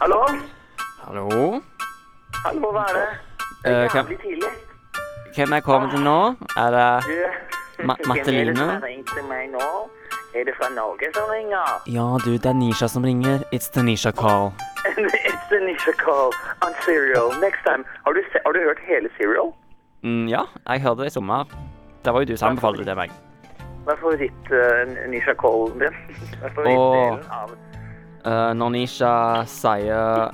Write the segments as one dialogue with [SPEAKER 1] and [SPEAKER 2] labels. [SPEAKER 1] Hallo?
[SPEAKER 2] Hallo?
[SPEAKER 1] Hallo, hva er det? Det
[SPEAKER 2] Eh,
[SPEAKER 1] er
[SPEAKER 2] hvem,
[SPEAKER 1] jævlig tidlig.
[SPEAKER 2] hvem jeg kommer til nå? Er det
[SPEAKER 1] Du,
[SPEAKER 2] Ma- Matelina?
[SPEAKER 1] Hvem er det som har ringt til meg nå? Er det fra Norge som ringer?
[SPEAKER 2] Ja, du, det er Nisha som ringer. It's the Nisha call.
[SPEAKER 1] It's the Nisha call on Serial. Next time. Har du, se har du hørt hele Serial?
[SPEAKER 2] Mm, ja, jeg hørte det i sommer. Det var jo du som anbefalte det til meg.
[SPEAKER 1] Hva er favoritt-Nisha callen din? Hva er favorittdelen av
[SPEAKER 2] Eh, når Nisha sier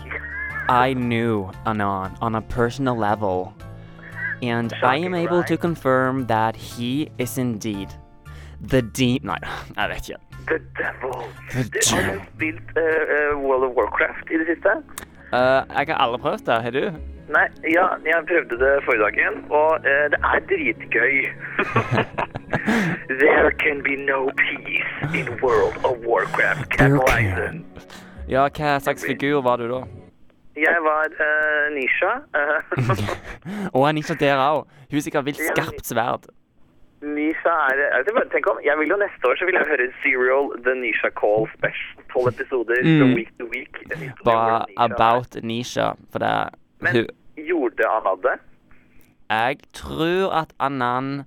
[SPEAKER 2] I knew Anand on a personal level, and I am
[SPEAKER 1] Shocking,
[SPEAKER 2] able to
[SPEAKER 1] right?
[SPEAKER 2] confirm that he is indeed the deep Nei, jeg vet ikke.
[SPEAKER 1] The Devil?
[SPEAKER 2] The
[SPEAKER 1] Har du
[SPEAKER 2] Devil.
[SPEAKER 1] spilt eh, eh, World of Warcraft i det siste?
[SPEAKER 2] Eh, jeg har aldri prøvd det. Har du?
[SPEAKER 1] Nei, ja, jeg prøvde det forrige dagen, og eh, det er dritgøy. There can be no peace in World of Warcraft. Cap Horizon.
[SPEAKER 2] Ja, hva slags figur var du da?
[SPEAKER 1] Jeg var eh, Nisha. eh,
[SPEAKER 2] Og han er ikke der òg. Hun er sikkert vilt skarpt sverd.
[SPEAKER 1] Nisha er jeg vet ikke, bare Tenk om, jeg vil jo neste år så vil jeg høre Serial The Nisha Call Special. Tolv episoder from
[SPEAKER 2] Mm.
[SPEAKER 1] week to week. En historie
[SPEAKER 2] Bare
[SPEAKER 1] om Nisha.
[SPEAKER 2] about Nisha. For det er
[SPEAKER 1] Men
[SPEAKER 2] hun,
[SPEAKER 1] gjorde han av det?
[SPEAKER 2] Jeg tror at Anand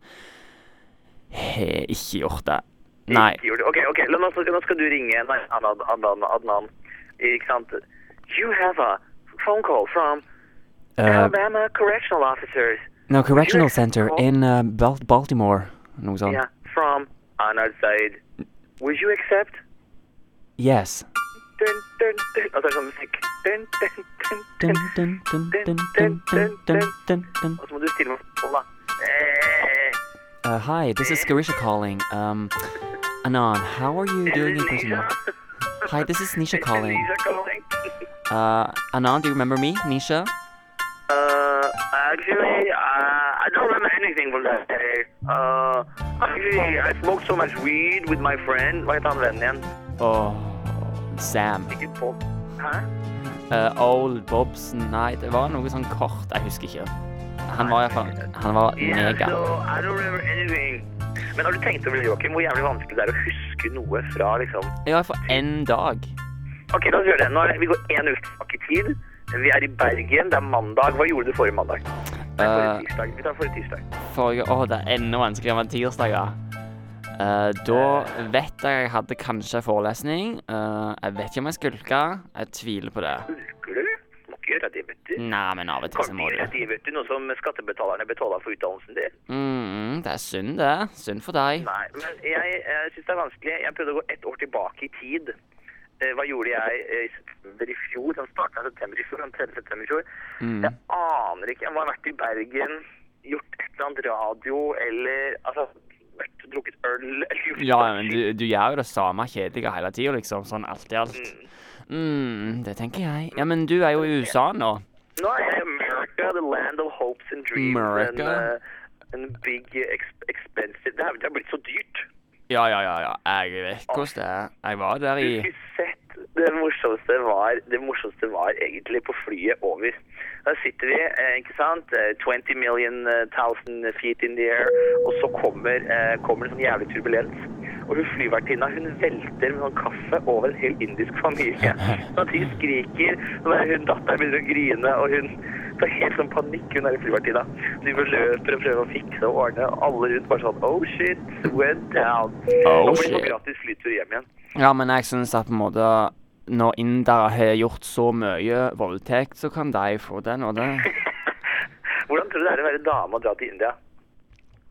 [SPEAKER 2] har ikke gjort det. Nei.
[SPEAKER 1] Ikke gjorde det. Ok, ok, la- nå skal, nå skal du ringe en Adnan, Adnan, Adnan. Ikke sant? You have a phone call from
[SPEAKER 2] Uh,
[SPEAKER 1] Alabama Correctional Officers.
[SPEAKER 2] no, Correctional Center in uh, Bal Baltimore. Noe sånt.
[SPEAKER 1] Yeah, from Anad Zaid. Would you accept?
[SPEAKER 2] Yes.
[SPEAKER 1] Dun, dun, dun. Og så er det sånn musikk. Dun, dun, dun,
[SPEAKER 2] Dun,
[SPEAKER 1] dun.
[SPEAKER 2] dun, dun, dun, dun, dun, dun, dun, dun.
[SPEAKER 1] Og så må du stille meg spørsmål, da. Eh,
[SPEAKER 2] Uh, hi, this is Garisha calling. Um, Anand, how are you doing in prison?
[SPEAKER 1] Nisha?
[SPEAKER 2] Hi, this is Nisha
[SPEAKER 1] It's
[SPEAKER 2] calling.
[SPEAKER 1] Nisha calling.
[SPEAKER 2] Uh, Anand, do you remember me, Nisha?
[SPEAKER 1] Uh, actually, uh, I don't remember anything from that day. Uh, actually, I smoked so much weed with my friend. Hva heter han vennen igjen?
[SPEAKER 2] Oh, Sam.
[SPEAKER 1] Ikke Bob. Hæ?
[SPEAKER 2] Uh, Old Bobson Nei, det var noe sånn kort. Jeg husker ikke. Han var iallfall Han var
[SPEAKER 1] Yeah,
[SPEAKER 2] mega.
[SPEAKER 1] so I don't remember anything. Men har du tenkt over det, Joakim, hvor jævlig vanskelig det er å huske noe fra liksom
[SPEAKER 2] Ja, for én dag.
[SPEAKER 1] Ok, la oss gjøre det. Nå er det, vi går én uke tilbake i tid. Vi er i Bergen. Det er mandag. Hva gjorde du forrige mandag? Nei, forrige
[SPEAKER 2] Eh.
[SPEAKER 1] tirsdag. Vi tar forrige tirsdag.
[SPEAKER 2] Forrige Å, det er enda vanskeligere med tirsdager. Uh, da vet jeg jeg hadde kanskje forelesning. Eh, jeg vet ikke om jeg skulka. Jeg tviler på det.
[SPEAKER 1] Husker du? Må ikke gjøre det, vet du.
[SPEAKER 2] Nei, men av og til Mm, så
[SPEAKER 1] Kan
[SPEAKER 2] må
[SPEAKER 1] ikke gjøre
[SPEAKER 2] du.
[SPEAKER 1] det, vet du. Noe som skattebetalerne betaler for utdannelsen din.
[SPEAKER 2] Mm, det er synd, det. Synd for deg.
[SPEAKER 1] Nei, men jeg, jeg syns det er vanskelig. Jeg prøvde å gå ett år tilbake i tid. Eh, Hva gjorde jeg eh, i september i fjor? Den starta i september i fjor, den 3. september i fjor.
[SPEAKER 2] Mm.
[SPEAKER 1] Jeg aner ikke. Jeg må ha vært i Bergen, gjort et eller annet radio, eller altså vært drukket øl eller gjort
[SPEAKER 2] Ja, men du, du gjør jo det samme kjedelige hele tida, liksom. Sånn alt i alt. Mm, det tenker jeg. Ja, men du er jo i USA nå.
[SPEAKER 1] Nå er jeg i America, the land of hopes and dreams.
[SPEAKER 2] America.
[SPEAKER 1] En, eh, en big exp expensive Det har det har blitt så dyrt.
[SPEAKER 2] Ja, ja, ja, ja. Jeg vet hvordan det er. Jeg var der i
[SPEAKER 1] Du skulle sett det morsomste var, det morsomste var egentlig på flyet over. Der sitter vi, eh, ikke sant, eh, 20 million eh, thousand feet in the air, og så kommer, eh, kommer det sånn jævlig turbulens. Og hun flyvertinna hun velter med noen kaffe over en hel indisk familie. Og de skriker, og der hun datteren begynner å grine, og hun får helt sånn panikk, hun der flyvertinna. Så De bare løper og prøver å fikse og ordne, og alle rundt bare sånn Oh shit, went down.
[SPEAKER 2] Oh,
[SPEAKER 1] Nå blir det
[SPEAKER 2] shit.
[SPEAKER 1] på gratis flytur hjem igjen.
[SPEAKER 2] Ja, men jeg syns at på en måte når indere har gjort så mye voldtekt, så kan de få den og den.
[SPEAKER 1] Hvordan tror du det er å være dame og dra til India?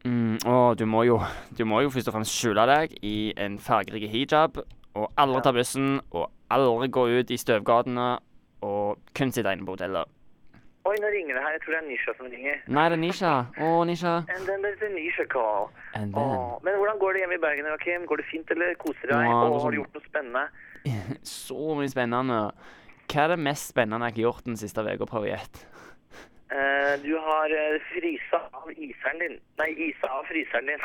[SPEAKER 2] Mm, og du må, jo, du må jo først og fremst skjule deg i en fargerik hijab, og aldri ta bussen, og aldri gå ut i støvgatene, og kun sitte inne på hotellet.
[SPEAKER 1] Oi, nå ringer det her. Jeg tror det er Nisha som ringer.
[SPEAKER 2] Nei, det er Nisha. Å, Nisha.
[SPEAKER 1] And then there's a Nisha call.
[SPEAKER 2] And then
[SPEAKER 1] Åh, men hvordan går det hjemme i Bergen, Joakim? Går det fint, eller koser deg?
[SPEAKER 2] Ja,
[SPEAKER 1] Åh,
[SPEAKER 2] det
[SPEAKER 1] har
[SPEAKER 2] er
[SPEAKER 1] du
[SPEAKER 2] sånn-
[SPEAKER 1] gjort noe spennende?
[SPEAKER 2] Så mye spennende. Hva er det mest spennende jeg har gjort den siste uka, prøv å gjette?
[SPEAKER 1] Eh, du har eh, frysa av iseren din. Nei, isa av fryseren din.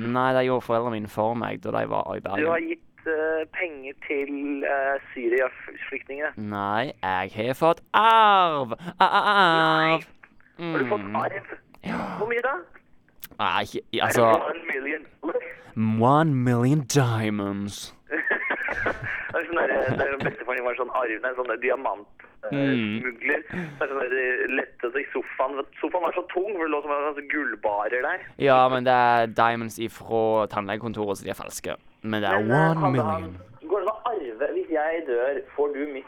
[SPEAKER 2] Nei, det gjorde foreldrene mine for meg da de var i
[SPEAKER 1] Du
[SPEAKER 2] Bergen.
[SPEAKER 1] har gitt eh, penger til eh, Syria-flyktningene.
[SPEAKER 2] Nei, jeg har fått arv! Arv!
[SPEAKER 1] Har du fått
[SPEAKER 2] Mm.
[SPEAKER 1] arv? Hvor mye da?
[SPEAKER 2] Nei, ikke- altså
[SPEAKER 1] One million.
[SPEAKER 2] One million diamonds.
[SPEAKER 1] Det er sånn der, der Bestefaren min var sånn arv, nei, sånn der
[SPEAKER 2] Mm.
[SPEAKER 1] diamantsmugler. Mm. Sånn der, lette seg i sofaen. Sofaen var så tung, for det lå som en sånn gullbarer der.
[SPEAKER 2] Ja, men det er diamonds ifra tannlegekontoret, så de er falske. Men det er
[SPEAKER 1] Men, eh,
[SPEAKER 2] one
[SPEAKER 1] kan det ha-
[SPEAKER 2] million.
[SPEAKER 1] Går det an å arve Hvis jeg dør, får du mitt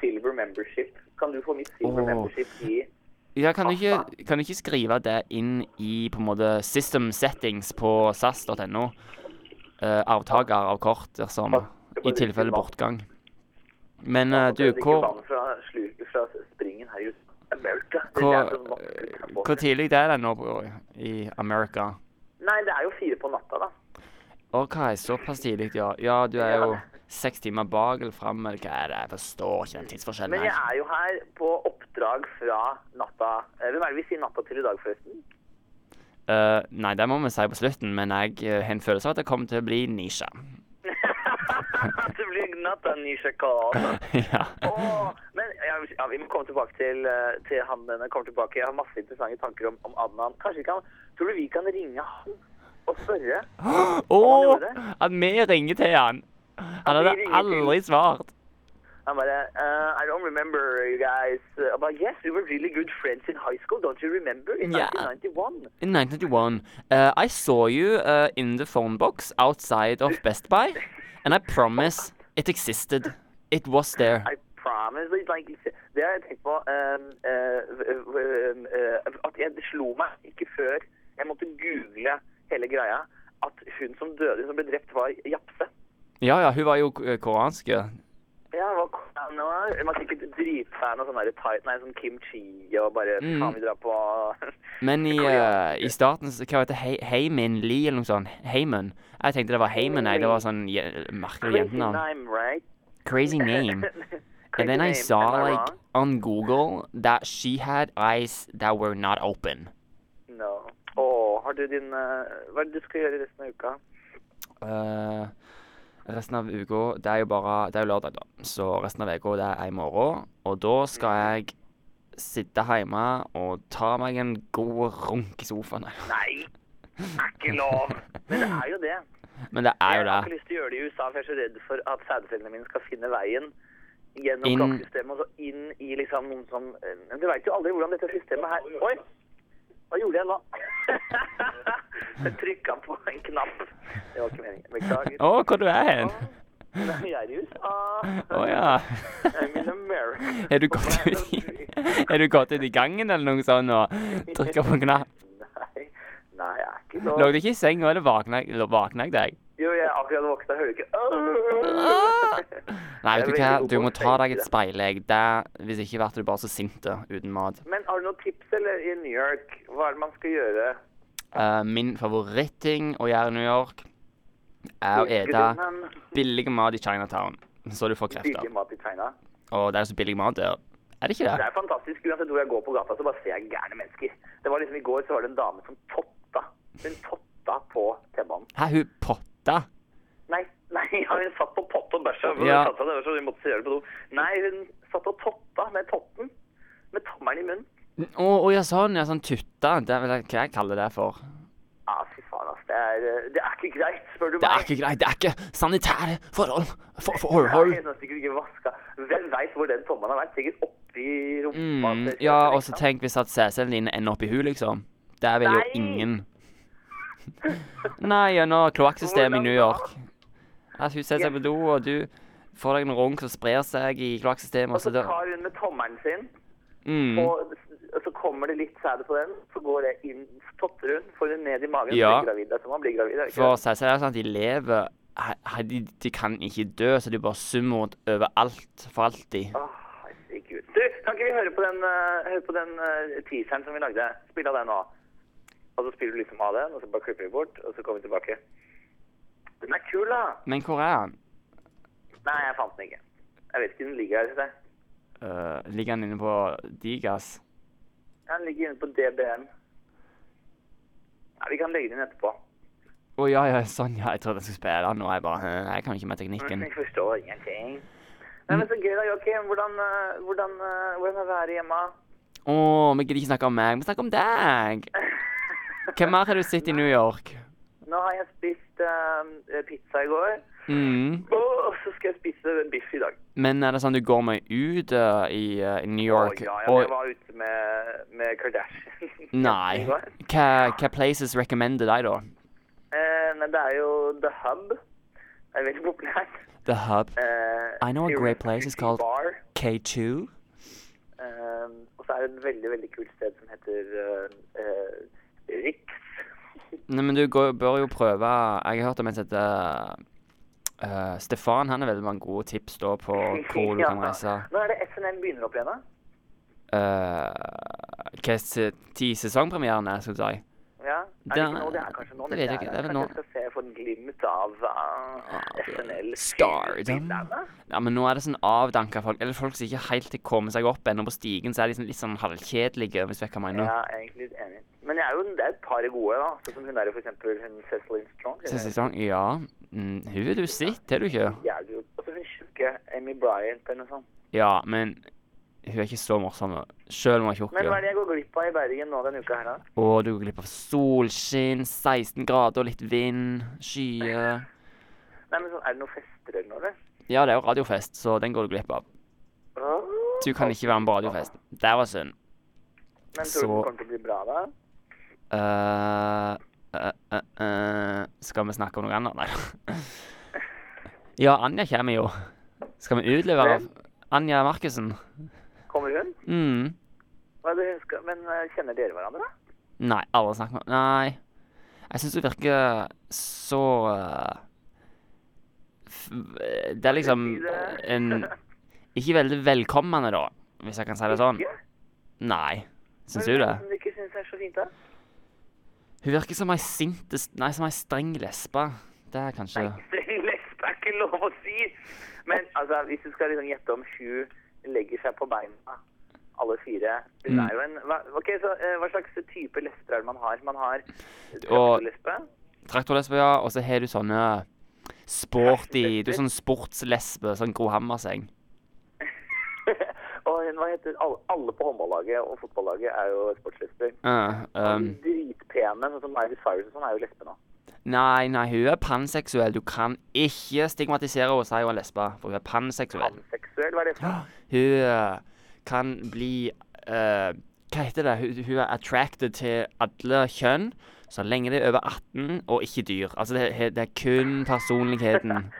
[SPEAKER 1] silver membership? Kan du få mitt silver
[SPEAKER 2] Åh.
[SPEAKER 1] membership i
[SPEAKER 2] Ja, kan du ikke,
[SPEAKER 1] Pasta.
[SPEAKER 2] kan du ikke skrive det inn i på en måte system settings på sas.no? Uh, avtaker av kort, dersom I tilfelle bortgang. Men eh, du,
[SPEAKER 1] Jeg drikker
[SPEAKER 2] hvor,
[SPEAKER 1] vann fra slurken fra springen her ute. Det er mørkt, da. Det
[SPEAKER 2] hvor,
[SPEAKER 1] er så vakkert utenfor.
[SPEAKER 2] hvor tidlig det er det nå på, i Amerika?
[SPEAKER 1] Nei, det er jo fire på natta, da.
[SPEAKER 2] OK, såpass tidlig, ja. Ja, du er jo seks timer bak eller fram, eller hva er det? Jeg forstår ikke den tidsforskjellen
[SPEAKER 1] Men jeg
[SPEAKER 2] her.
[SPEAKER 1] er jo her på oppdrag fra natta eh, Hvem er det vi sier natta til i dag, forresten?
[SPEAKER 2] Eh, nei, det må vi si på slutten, men jeg eh, har en følelse av at det kommer til å bli nisje.
[SPEAKER 1] det blir natta nisjakal.
[SPEAKER 2] ja.
[SPEAKER 1] altså. Åh, men ja, vi- ja, vi må komme tilbake til, eh, til han denne. Kommer tilbake. Jeg har masse interessante tanker om, om Adnan. Kanskje vi kan, Tror du vi kan ringe han og spørre?
[SPEAKER 2] Å!
[SPEAKER 1] gjorde det?
[SPEAKER 2] At vi ringer til han. Han
[SPEAKER 1] vi
[SPEAKER 2] hadde
[SPEAKER 1] ringer til-
[SPEAKER 2] aldri svart.
[SPEAKER 1] Han bare eh, I don't remember you guys. Jeg bare, yes, we were really good friends in high school. Don't you remember? In
[SPEAKER 2] Ja.
[SPEAKER 1] 1991.
[SPEAKER 2] In 1991, uh, I saw you uh, in the phone box outside of Best Buy, and I promise it existed. It was there.
[SPEAKER 1] I promise. It's like, det har jeg tenkt på um, eh, v- v- eh, At jeg, det slo meg ikke før jeg måtte google hele greia, at hun som døde, hun som ble drept, var japse.
[SPEAKER 2] Ja, ja, hun var jo k- koreansk. ja.
[SPEAKER 1] Ja, hva kom nå? Jeg var sikkert dritfan av sånn der tight, nei, sånn kimchi og bare
[SPEAKER 2] Mm.
[SPEAKER 1] faen vi drar på
[SPEAKER 2] Men i, uh, i starten så- Hva heter det? Heyman Lee, eller noe sånt? Heyman? Jeg tenkte det var Heyman, nei. Det var sånn je- merkelig
[SPEAKER 1] Crazy
[SPEAKER 2] jentenavn.
[SPEAKER 1] name, right?
[SPEAKER 2] Crazy name.
[SPEAKER 1] Crazy
[SPEAKER 2] And then I
[SPEAKER 1] name, am
[SPEAKER 2] saw,
[SPEAKER 1] I
[SPEAKER 2] like,
[SPEAKER 1] wrong?
[SPEAKER 2] on Google that she had eyes that were not open.
[SPEAKER 1] No. Åh, har du din eh, Hva er det du skal gjøre resten av uka?
[SPEAKER 2] Eh, resten av uka Det er jo bare Det er jo lørdag, da. Så resten av uka det er i morgen. Og da
[SPEAKER 1] Mm.
[SPEAKER 2] skal jeg sitte hjemme og ta meg en god runk i sofaen.
[SPEAKER 1] Nei! Er ikke lov! Men det er jo det.
[SPEAKER 2] Men det er jo
[SPEAKER 1] Jeg har ikke
[SPEAKER 2] det.
[SPEAKER 1] lyst til å gjøre det i USA, for jeg er så redd for at sædcellene mine skal finne veien gjennom
[SPEAKER 2] Inn-
[SPEAKER 1] klokkesystemet og så inn i liksom noen som eh, Du veit jo aldri hvordan dette systemet her Oi! Hva gjorde jeg nå? jeg trykka på en knapp. Det var ikke meningen. Beklager.
[SPEAKER 2] Å, hvor du er hen?
[SPEAKER 1] Men Jeg er i USA.
[SPEAKER 2] Å ja.
[SPEAKER 1] I'm in America.
[SPEAKER 2] Er du gått ut i Er du gått ut i gangen eller noe sånt og trykka på en knapp?
[SPEAKER 1] Nei, nei, jeg er ikke nå
[SPEAKER 2] Lå du ikke i senga, eller våkna jeg- eller våkna jeg deg?
[SPEAKER 1] Jo, jeg er akkurat våkna, hører du
[SPEAKER 2] Ah!
[SPEAKER 1] ikke
[SPEAKER 2] Nei,
[SPEAKER 1] Jeg er
[SPEAKER 2] vet du
[SPEAKER 1] veldig
[SPEAKER 2] hva,
[SPEAKER 1] god
[SPEAKER 2] du
[SPEAKER 1] på å
[SPEAKER 2] må ta deg
[SPEAKER 1] fake
[SPEAKER 2] et
[SPEAKER 1] det.
[SPEAKER 2] speilegg. Det- Hvis ikke blir du bare så sint da, uten mat.
[SPEAKER 1] Men har du noen tips eller i New York? Hva er det man skal gjøre?
[SPEAKER 2] Eh, min favoritting å gjøre i New York er å ete
[SPEAKER 1] Grunnen-
[SPEAKER 2] billig mat i Chinatown, så du får krefter.
[SPEAKER 1] Billig mat i China.
[SPEAKER 2] Og det er så billig mat der. Er det ikke
[SPEAKER 1] Det
[SPEAKER 2] det?
[SPEAKER 1] er fantastisk. Uansett hvor jeg går på gata, så bare ser jeg gærne mennesker. Det var liksom I går så var det en dame som totta. Hun totta på T-banen.
[SPEAKER 2] Hæ, hun potta?
[SPEAKER 1] Nei, nei, ja, hun satt på pott og bæsja. for
[SPEAKER 2] Ja.
[SPEAKER 1] hun satt seg der, så hun måtte gjøre det på do. Nei, hun satt og totta med totten. Med tommelen i munnen.
[SPEAKER 2] Å, å, ja, sånn. Ja, sånn tutta. Det er vel hva jeg kaller det for.
[SPEAKER 1] Ja, fy faen, ass. Det er, eh, det er ikke greit, spør du
[SPEAKER 2] Det er
[SPEAKER 1] meg.
[SPEAKER 2] ikke greit. Det er ikke sanitære forhold. For, forhold.
[SPEAKER 1] Nei, den er sikkert ikke vasket. Hvem veit hvor den tommelen har vært? Sikkert oppi rumpa.
[SPEAKER 2] Mm,
[SPEAKER 1] til-
[SPEAKER 2] ja, og så tenk hvis at CC-en din ender opp i hun, liksom. Det vil jo
[SPEAKER 1] Nei.
[SPEAKER 2] ingen. Nei, gjennom kloakksystemet i New York. At hun setter seg på do, og du får deg en runk som sprer seg i kloakksystemet,
[SPEAKER 1] Og
[SPEAKER 2] og
[SPEAKER 1] så
[SPEAKER 2] så dør
[SPEAKER 1] tar hun med tommelen sin.
[SPEAKER 2] Altså, mm.
[SPEAKER 1] Og, og så kommer det litt sæd på den, så går det inn, totter hun, får hun ned i magen,
[SPEAKER 2] Ja.
[SPEAKER 1] så blir gravid. Det er som man blir gravid, er det ikke
[SPEAKER 2] For
[SPEAKER 1] det?
[SPEAKER 2] CC er det sånn at de lever he- he- de, de kan ikke dø, så de bare summer rundt overalt for alltid.
[SPEAKER 1] Åh, herregud. Du, kan ikke vi høre på den, eh, høre på den eh, teaseren som vi lagde? Spill av den nå. Og så spiller du liksom av den, og så bare klipper vi bort, og så kommer vi tilbake. Den er kul, da!
[SPEAKER 2] Men hvor er han?
[SPEAKER 1] Nei, jeg fant den ikke. Jeg vet ikke, den ligger her. ser jeg.
[SPEAKER 2] Øh, ligger han inne på Digas?
[SPEAKER 1] Den ligger inne på DBM. Nei, vi kan legge den inn etterpå.
[SPEAKER 2] Å ja, ja, sånn, ja. Jeg trodde jeg skulle spille han, og jeg bare «Hæ, Jeg kan ikke med teknikken.
[SPEAKER 1] Jeg forstår ingenting. Nei, men så gøy da, Joakim. Hvordan, eh, hvordan, eh, hvordan er været hjemme?
[SPEAKER 2] Å, vi gidder ikke snakke om meg, vi snakker om deg. Hva mer har du sett i New York?
[SPEAKER 1] Nå har jeg spist eh, pizza i går.
[SPEAKER 2] Mm.
[SPEAKER 1] Og så skal jeg spise en biff i dag.
[SPEAKER 2] Men er det sånn du går med ut eh, i, eh, i New
[SPEAKER 1] Å,
[SPEAKER 2] York?
[SPEAKER 1] ja, ja,
[SPEAKER 2] og-
[SPEAKER 1] jeg var ute med, med Kardashian.
[SPEAKER 2] Nei.
[SPEAKER 1] I går.
[SPEAKER 2] Hva, hva places recommender deg, da?
[SPEAKER 1] Eh, nei, det er jo The Hub. Det er veldig populært.
[SPEAKER 2] The Hub,
[SPEAKER 1] Eh,
[SPEAKER 2] I know a
[SPEAKER 1] Serious
[SPEAKER 2] great place, it's
[SPEAKER 1] Beauty
[SPEAKER 2] called-
[SPEAKER 1] Bar.
[SPEAKER 2] K2
[SPEAKER 1] Eh, og så er det et veldig, veldig kult sted som heter eh, eh, Rix.
[SPEAKER 2] Nei, men du går, bør jo prøve Jeg har hørt om en som heter eh, Stefan. Han er veldig mange gode tips da på hvor du
[SPEAKER 1] Ja.
[SPEAKER 2] kan reise.
[SPEAKER 1] Nå er det SNM begynner opp igjen, da.
[SPEAKER 2] Uh, hva se- ti sesongpremierene, skal du si?
[SPEAKER 1] Ja. Er det,
[SPEAKER 2] Det-
[SPEAKER 1] ikke nå? det er kanskje nå.
[SPEAKER 2] det
[SPEAKER 1] men
[SPEAKER 2] vet jeg ikke. Det er vel Ah,
[SPEAKER 1] kanskje jeg skal se få en glimt av uh,
[SPEAKER 2] det er
[SPEAKER 1] SNL.
[SPEAKER 2] stardom.
[SPEAKER 1] Finlandet.
[SPEAKER 2] Ja, men nå er det sånn avdanka folk. Eller folk som ikke helt har kommet seg opp ennå på stigen, så er de sånn, litt sånn halvkjedelige, hvis du vet hva jeg mener.
[SPEAKER 1] Ja, egentlig litt enig. Men jeg er jo, det er et par gode, da. Sånn som hun der, for eksempel, hun Cecilyn Strong.
[SPEAKER 2] Siste sesong, ja. Mm, hun er du sitt, er du ikke?
[SPEAKER 1] Ja, du, og så hun tjukke Amy Bryant eller noe sånt.
[SPEAKER 2] Ja, men hun er ikke så morsom, sjøl om hun er tjukk.
[SPEAKER 1] Men
[SPEAKER 2] ja.
[SPEAKER 1] hva er det jeg går glipp av i Bergen nå denne uka her, da?
[SPEAKER 2] Og du går glipp av solskinn, 16 grader, litt vind, skyer.
[SPEAKER 1] Nei, men sånn, Er det noen fester eller noe? eller?
[SPEAKER 2] Ja, det er jo radiofest, så den går du glipp av. Du kan ikke være med på radiofest. Det var synd.
[SPEAKER 1] Men tror du
[SPEAKER 2] så-
[SPEAKER 1] det kommer til å bli bra, da?
[SPEAKER 2] Eh, eh, eh, eh, skal vi snakke om noe annet? Nei. Ja, Anja kommer jo. Skal vi utlevere
[SPEAKER 1] Hvem?
[SPEAKER 2] Anja Markussen?
[SPEAKER 1] Kommer hun?
[SPEAKER 2] Mm.
[SPEAKER 1] Hva er det hun skal... Men eh, kjenner dere hverandre, da?
[SPEAKER 2] Nei, aldri snakket med Nei. Jeg syns hun virker så eh, f Det er liksom
[SPEAKER 1] Si det.
[SPEAKER 2] en Ikke veldig velkommende, da, hvis jeg kan si det sånn.
[SPEAKER 1] Ikke?
[SPEAKER 2] Nei. Syns
[SPEAKER 1] Men
[SPEAKER 2] du
[SPEAKER 1] hvem
[SPEAKER 2] det?
[SPEAKER 1] er det Som du ikke syns er så fint, da?
[SPEAKER 2] Hun virker som ei sint Nei, som ei streng lesbe. Det er kanskje
[SPEAKER 1] Nei, streng lesbe er ikke lov å si! Men altså, hvis du skal liksom gjette om hun legger seg på beina, alle fire Hun
[SPEAKER 2] Mm.
[SPEAKER 1] er jo en hva, Ok, så eh, hva slags type lesber er det man har? Man har
[SPEAKER 2] Og-
[SPEAKER 1] traktorlesbe?
[SPEAKER 2] traktorlesbe, ja. Og så har du sånne sporty Du er sånn sportslesbe. Sånn Gro Hammerseng.
[SPEAKER 1] og hun, hva heter alle, alle på håndballaget og fotballaget er jo sportslesber.
[SPEAKER 2] Eh,
[SPEAKER 1] Um,
[SPEAKER 2] ehm,
[SPEAKER 1] Dritpene, sånn som Miley Cyrus og sånn, er jo lesbe nå.
[SPEAKER 2] nei, nei, hun er panseksuell. Du kan ikke stigmatisere henne og si hun er lesbe, for hun er panseksuell.
[SPEAKER 1] Panseksuell, hva er det for noe?
[SPEAKER 2] Hun eh, kan bli eh, Hva heter det? Hun, hun er attracted til alle kjønn så lenge det er over 18 og ikke dyr. Altså, det, er- det er kun personligheten.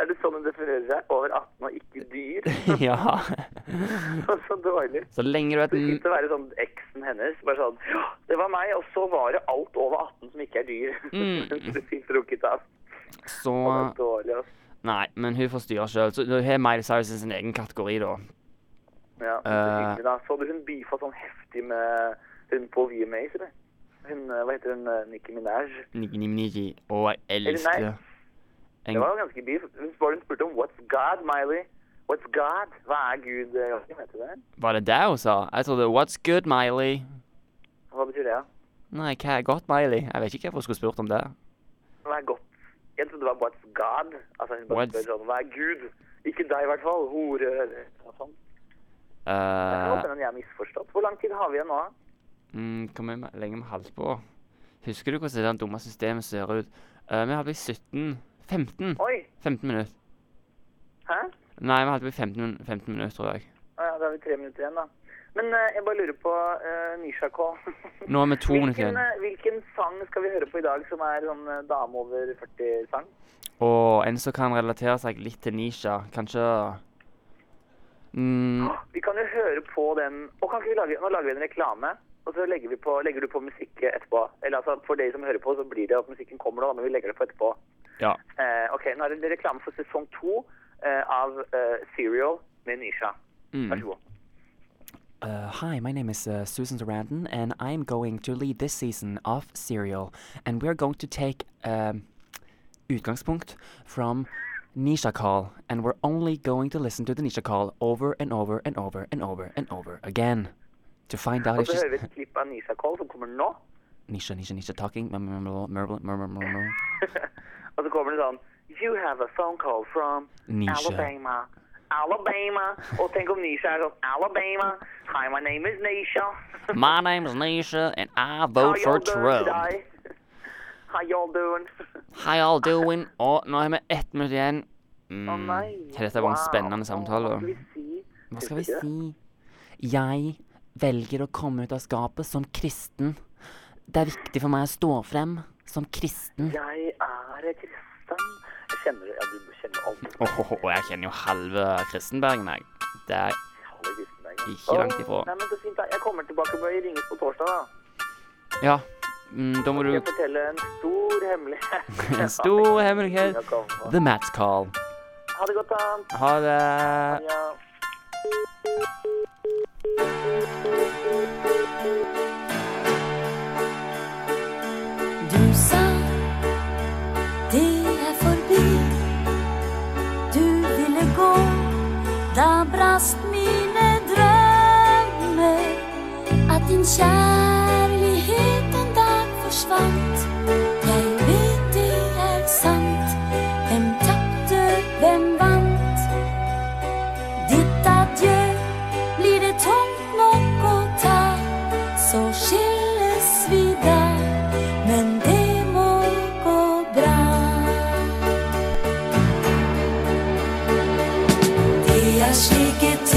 [SPEAKER 1] Er det sånn hun definerer seg? Over 18 og ikke dyr?
[SPEAKER 2] ja.
[SPEAKER 1] så dårlig.
[SPEAKER 2] Så lenge du er et
[SPEAKER 1] Det
[SPEAKER 2] n-
[SPEAKER 1] skulle være sånn eksen hennes. Bare sånn Ja, det var meg, og så var det alt over 18 som ikke er dyr.
[SPEAKER 2] Mm.
[SPEAKER 1] Som du fikk drukket av.
[SPEAKER 2] Så
[SPEAKER 1] Det var dårlig, ass.
[SPEAKER 2] Nei, men hun får styre sjøl. Så hun har Miley Cyrus i sin egen kategori, da.
[SPEAKER 1] Ja, så
[SPEAKER 2] Eh.
[SPEAKER 1] hyggelig da. Så du hun beefa sånn heftig med hun på VMAs, eller? Hun, eh, hva heter hun, eh, Nicki Minaj?
[SPEAKER 2] Niki, niki, niki. Og jeg
[SPEAKER 1] Eller
[SPEAKER 2] elsker
[SPEAKER 1] nei.
[SPEAKER 2] en,
[SPEAKER 1] Det var jo ganske beef. Hun spurte, hun spurte om 'What's God, Miley?' What's God? Hva er Gud? eh, Joachim, Vet du det?
[SPEAKER 2] Var det det hun sa? Jeg trodde What's good, Miley?
[SPEAKER 1] Hva betyr det? da?
[SPEAKER 2] Nei, hva er godt, Miley? Jeg vet ikke hvorfor hun skulle spurt om det.
[SPEAKER 1] Hva er godt? Jeg trodde det var 'What's God'? Altså hun bare
[SPEAKER 2] What's-
[SPEAKER 1] spør sånn 'Hva er Gud?' Ikke deg, i hvert fall. Hore eller noe sånt. Det kan
[SPEAKER 2] Uh,
[SPEAKER 1] godt hende jeg har misforstått. Hvor lang tid har vi igjen nå? da?
[SPEAKER 2] mm, hvor mye me- lenge vi holdt på? Husker du hvordan det der dumme systemet ser ut? Eh, vi holdt på i 17 15.
[SPEAKER 1] Oi!
[SPEAKER 2] 15 minutter.
[SPEAKER 1] Hæ?
[SPEAKER 2] Nei, vi holdt på i 15, min- 15 minutter, tror jeg.
[SPEAKER 1] Å ja, da har vi tre minutter igjen, da. Men eh, jeg bare lurer på uh, Nisha K.
[SPEAKER 2] Nå er vi to minutter
[SPEAKER 1] Hvilken,
[SPEAKER 2] igjen.
[SPEAKER 1] eh, hvilken sang skal vi høre på i dag som er sånn eh, dame over 40-sang?
[SPEAKER 2] Og en som kan relatere seg litt til Nisha, kanskje mm,
[SPEAKER 1] Vi kan jo høre på den Og kan ikke vi lage, Nå lager vi en reklame, og så legger, vi på, legger du på musikk etterpå. Eller altså, for dere som hører på, så blir det at musikken kommer nå, da, men vi legger det på etterpå.
[SPEAKER 2] Ja.
[SPEAKER 1] Eh, ok, nå er det reklame for sesong to eh, av eh, Serial med Nisha. Vær
[SPEAKER 2] Mm.
[SPEAKER 1] så god.
[SPEAKER 3] Uh, hi, my name is uh, Susan Sarandon, and I'm going to lead this season of Serial, and we're going to take um, utgangspunkt from Nisha Call, and we're only going to listen to the Nisha Call over and over and over and over and over again to find out
[SPEAKER 1] Og
[SPEAKER 3] if
[SPEAKER 1] så
[SPEAKER 3] she's
[SPEAKER 1] hører vi et klipp av Nisha Cole som kommer nå.
[SPEAKER 3] Nisha, Nisha, Nisha talking, murmur, murmur, murmur, murmur, murmur.
[SPEAKER 1] og så kommer det sånn You have a phone call from
[SPEAKER 3] Nisha.
[SPEAKER 1] Alabama. Alabama. Og tenk om Nisha er sånn Alabama. Hi, my name is Nisha.
[SPEAKER 2] My name is Nisha, and I vote
[SPEAKER 1] How y'all doing
[SPEAKER 2] for Trump.
[SPEAKER 1] today? How y'all doing?
[SPEAKER 2] How y'all doing?
[SPEAKER 3] Oh,
[SPEAKER 2] Og nå har vi ett minutt igjen. Mm.
[SPEAKER 1] Å nei.
[SPEAKER 3] er
[SPEAKER 2] Dette var en spennende samtale.
[SPEAKER 1] Hva skal vi si?
[SPEAKER 3] Hva skal vi
[SPEAKER 1] Husker du det?
[SPEAKER 3] si? Jeg velger å komme ut av skapet som kristen. Det er viktig for meg å stå frem som kristen.
[SPEAKER 1] Jeg er kristen. Jeg kjenner ja, du kjenner alle
[SPEAKER 2] Åh, åh, åh, jeg kjenner jo halve Kristenbergen, jeg. Det er
[SPEAKER 1] alle kristne. jeg kjenner.
[SPEAKER 2] Ikke langt ifra.
[SPEAKER 1] Åh, Nei, men så fint. da. Jeg kommer tilbake med å ringes på torsdag, da.
[SPEAKER 2] Ja. Mm, da må
[SPEAKER 1] Skal
[SPEAKER 2] du
[SPEAKER 1] jeg fortelle en stor hemmelighet?
[SPEAKER 2] En stor hemmelighet.
[SPEAKER 1] Jeg kom på.
[SPEAKER 3] The Match Call.
[SPEAKER 1] Ha det godt, da.
[SPEAKER 2] Ha det.
[SPEAKER 1] Ja.
[SPEAKER 4] Du sa det er forbi. Du ville gå, da brast